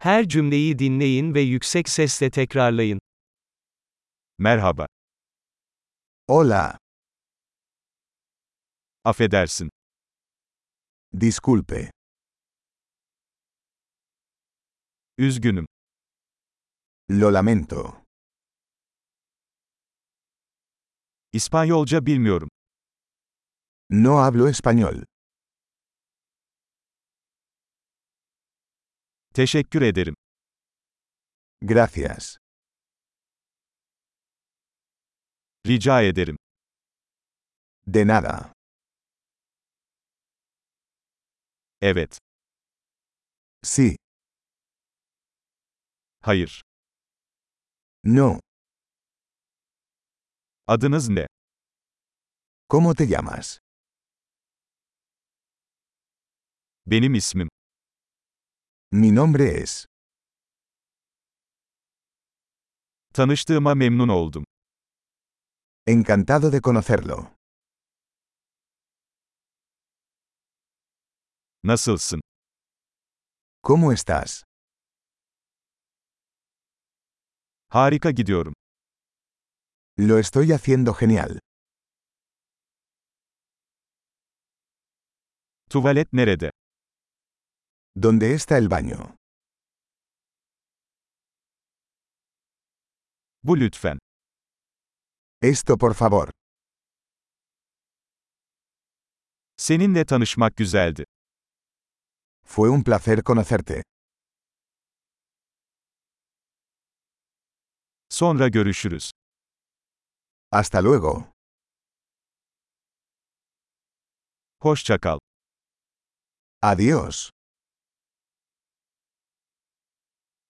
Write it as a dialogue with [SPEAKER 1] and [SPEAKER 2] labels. [SPEAKER 1] Her cümleyi dinleyin ve yüksek sesle tekrarlayın.
[SPEAKER 2] Merhaba.
[SPEAKER 3] Hola,
[SPEAKER 2] Affedersin.
[SPEAKER 3] disculpe,
[SPEAKER 2] Üzgünüm.
[SPEAKER 3] lo lamento.
[SPEAKER 2] İspanyolca bilmiyorum.
[SPEAKER 3] No hablo español.
[SPEAKER 2] Teşekkür ederim.
[SPEAKER 3] Gracias.
[SPEAKER 2] Rica ederim.
[SPEAKER 3] De nada.
[SPEAKER 2] Evet.
[SPEAKER 3] Sí,
[SPEAKER 2] Hayır.
[SPEAKER 3] no.
[SPEAKER 2] Adınız ne?
[SPEAKER 3] ¿Cómo te llamas?
[SPEAKER 2] Benim ismim.
[SPEAKER 3] Mi nombre es.
[SPEAKER 2] Tanıştığıma memnun oldum.
[SPEAKER 3] Encantado de conocerlo.
[SPEAKER 2] Nasılsın?
[SPEAKER 3] ¿Cómo estás?
[SPEAKER 2] Harika gidiyorum.
[SPEAKER 3] Lo estoy haciendo genial.
[SPEAKER 2] Tuvalet nerede?
[SPEAKER 3] ¿Dónde está el baño?
[SPEAKER 2] Bu lütfen.
[SPEAKER 3] Esto por favor.
[SPEAKER 2] Seninle tanışmak güzeldi.
[SPEAKER 3] Fue un placer conocerte.
[SPEAKER 2] Sonra görüşürüz.
[SPEAKER 3] Hasta luego.
[SPEAKER 2] Hoşça kal.
[SPEAKER 3] Adiós.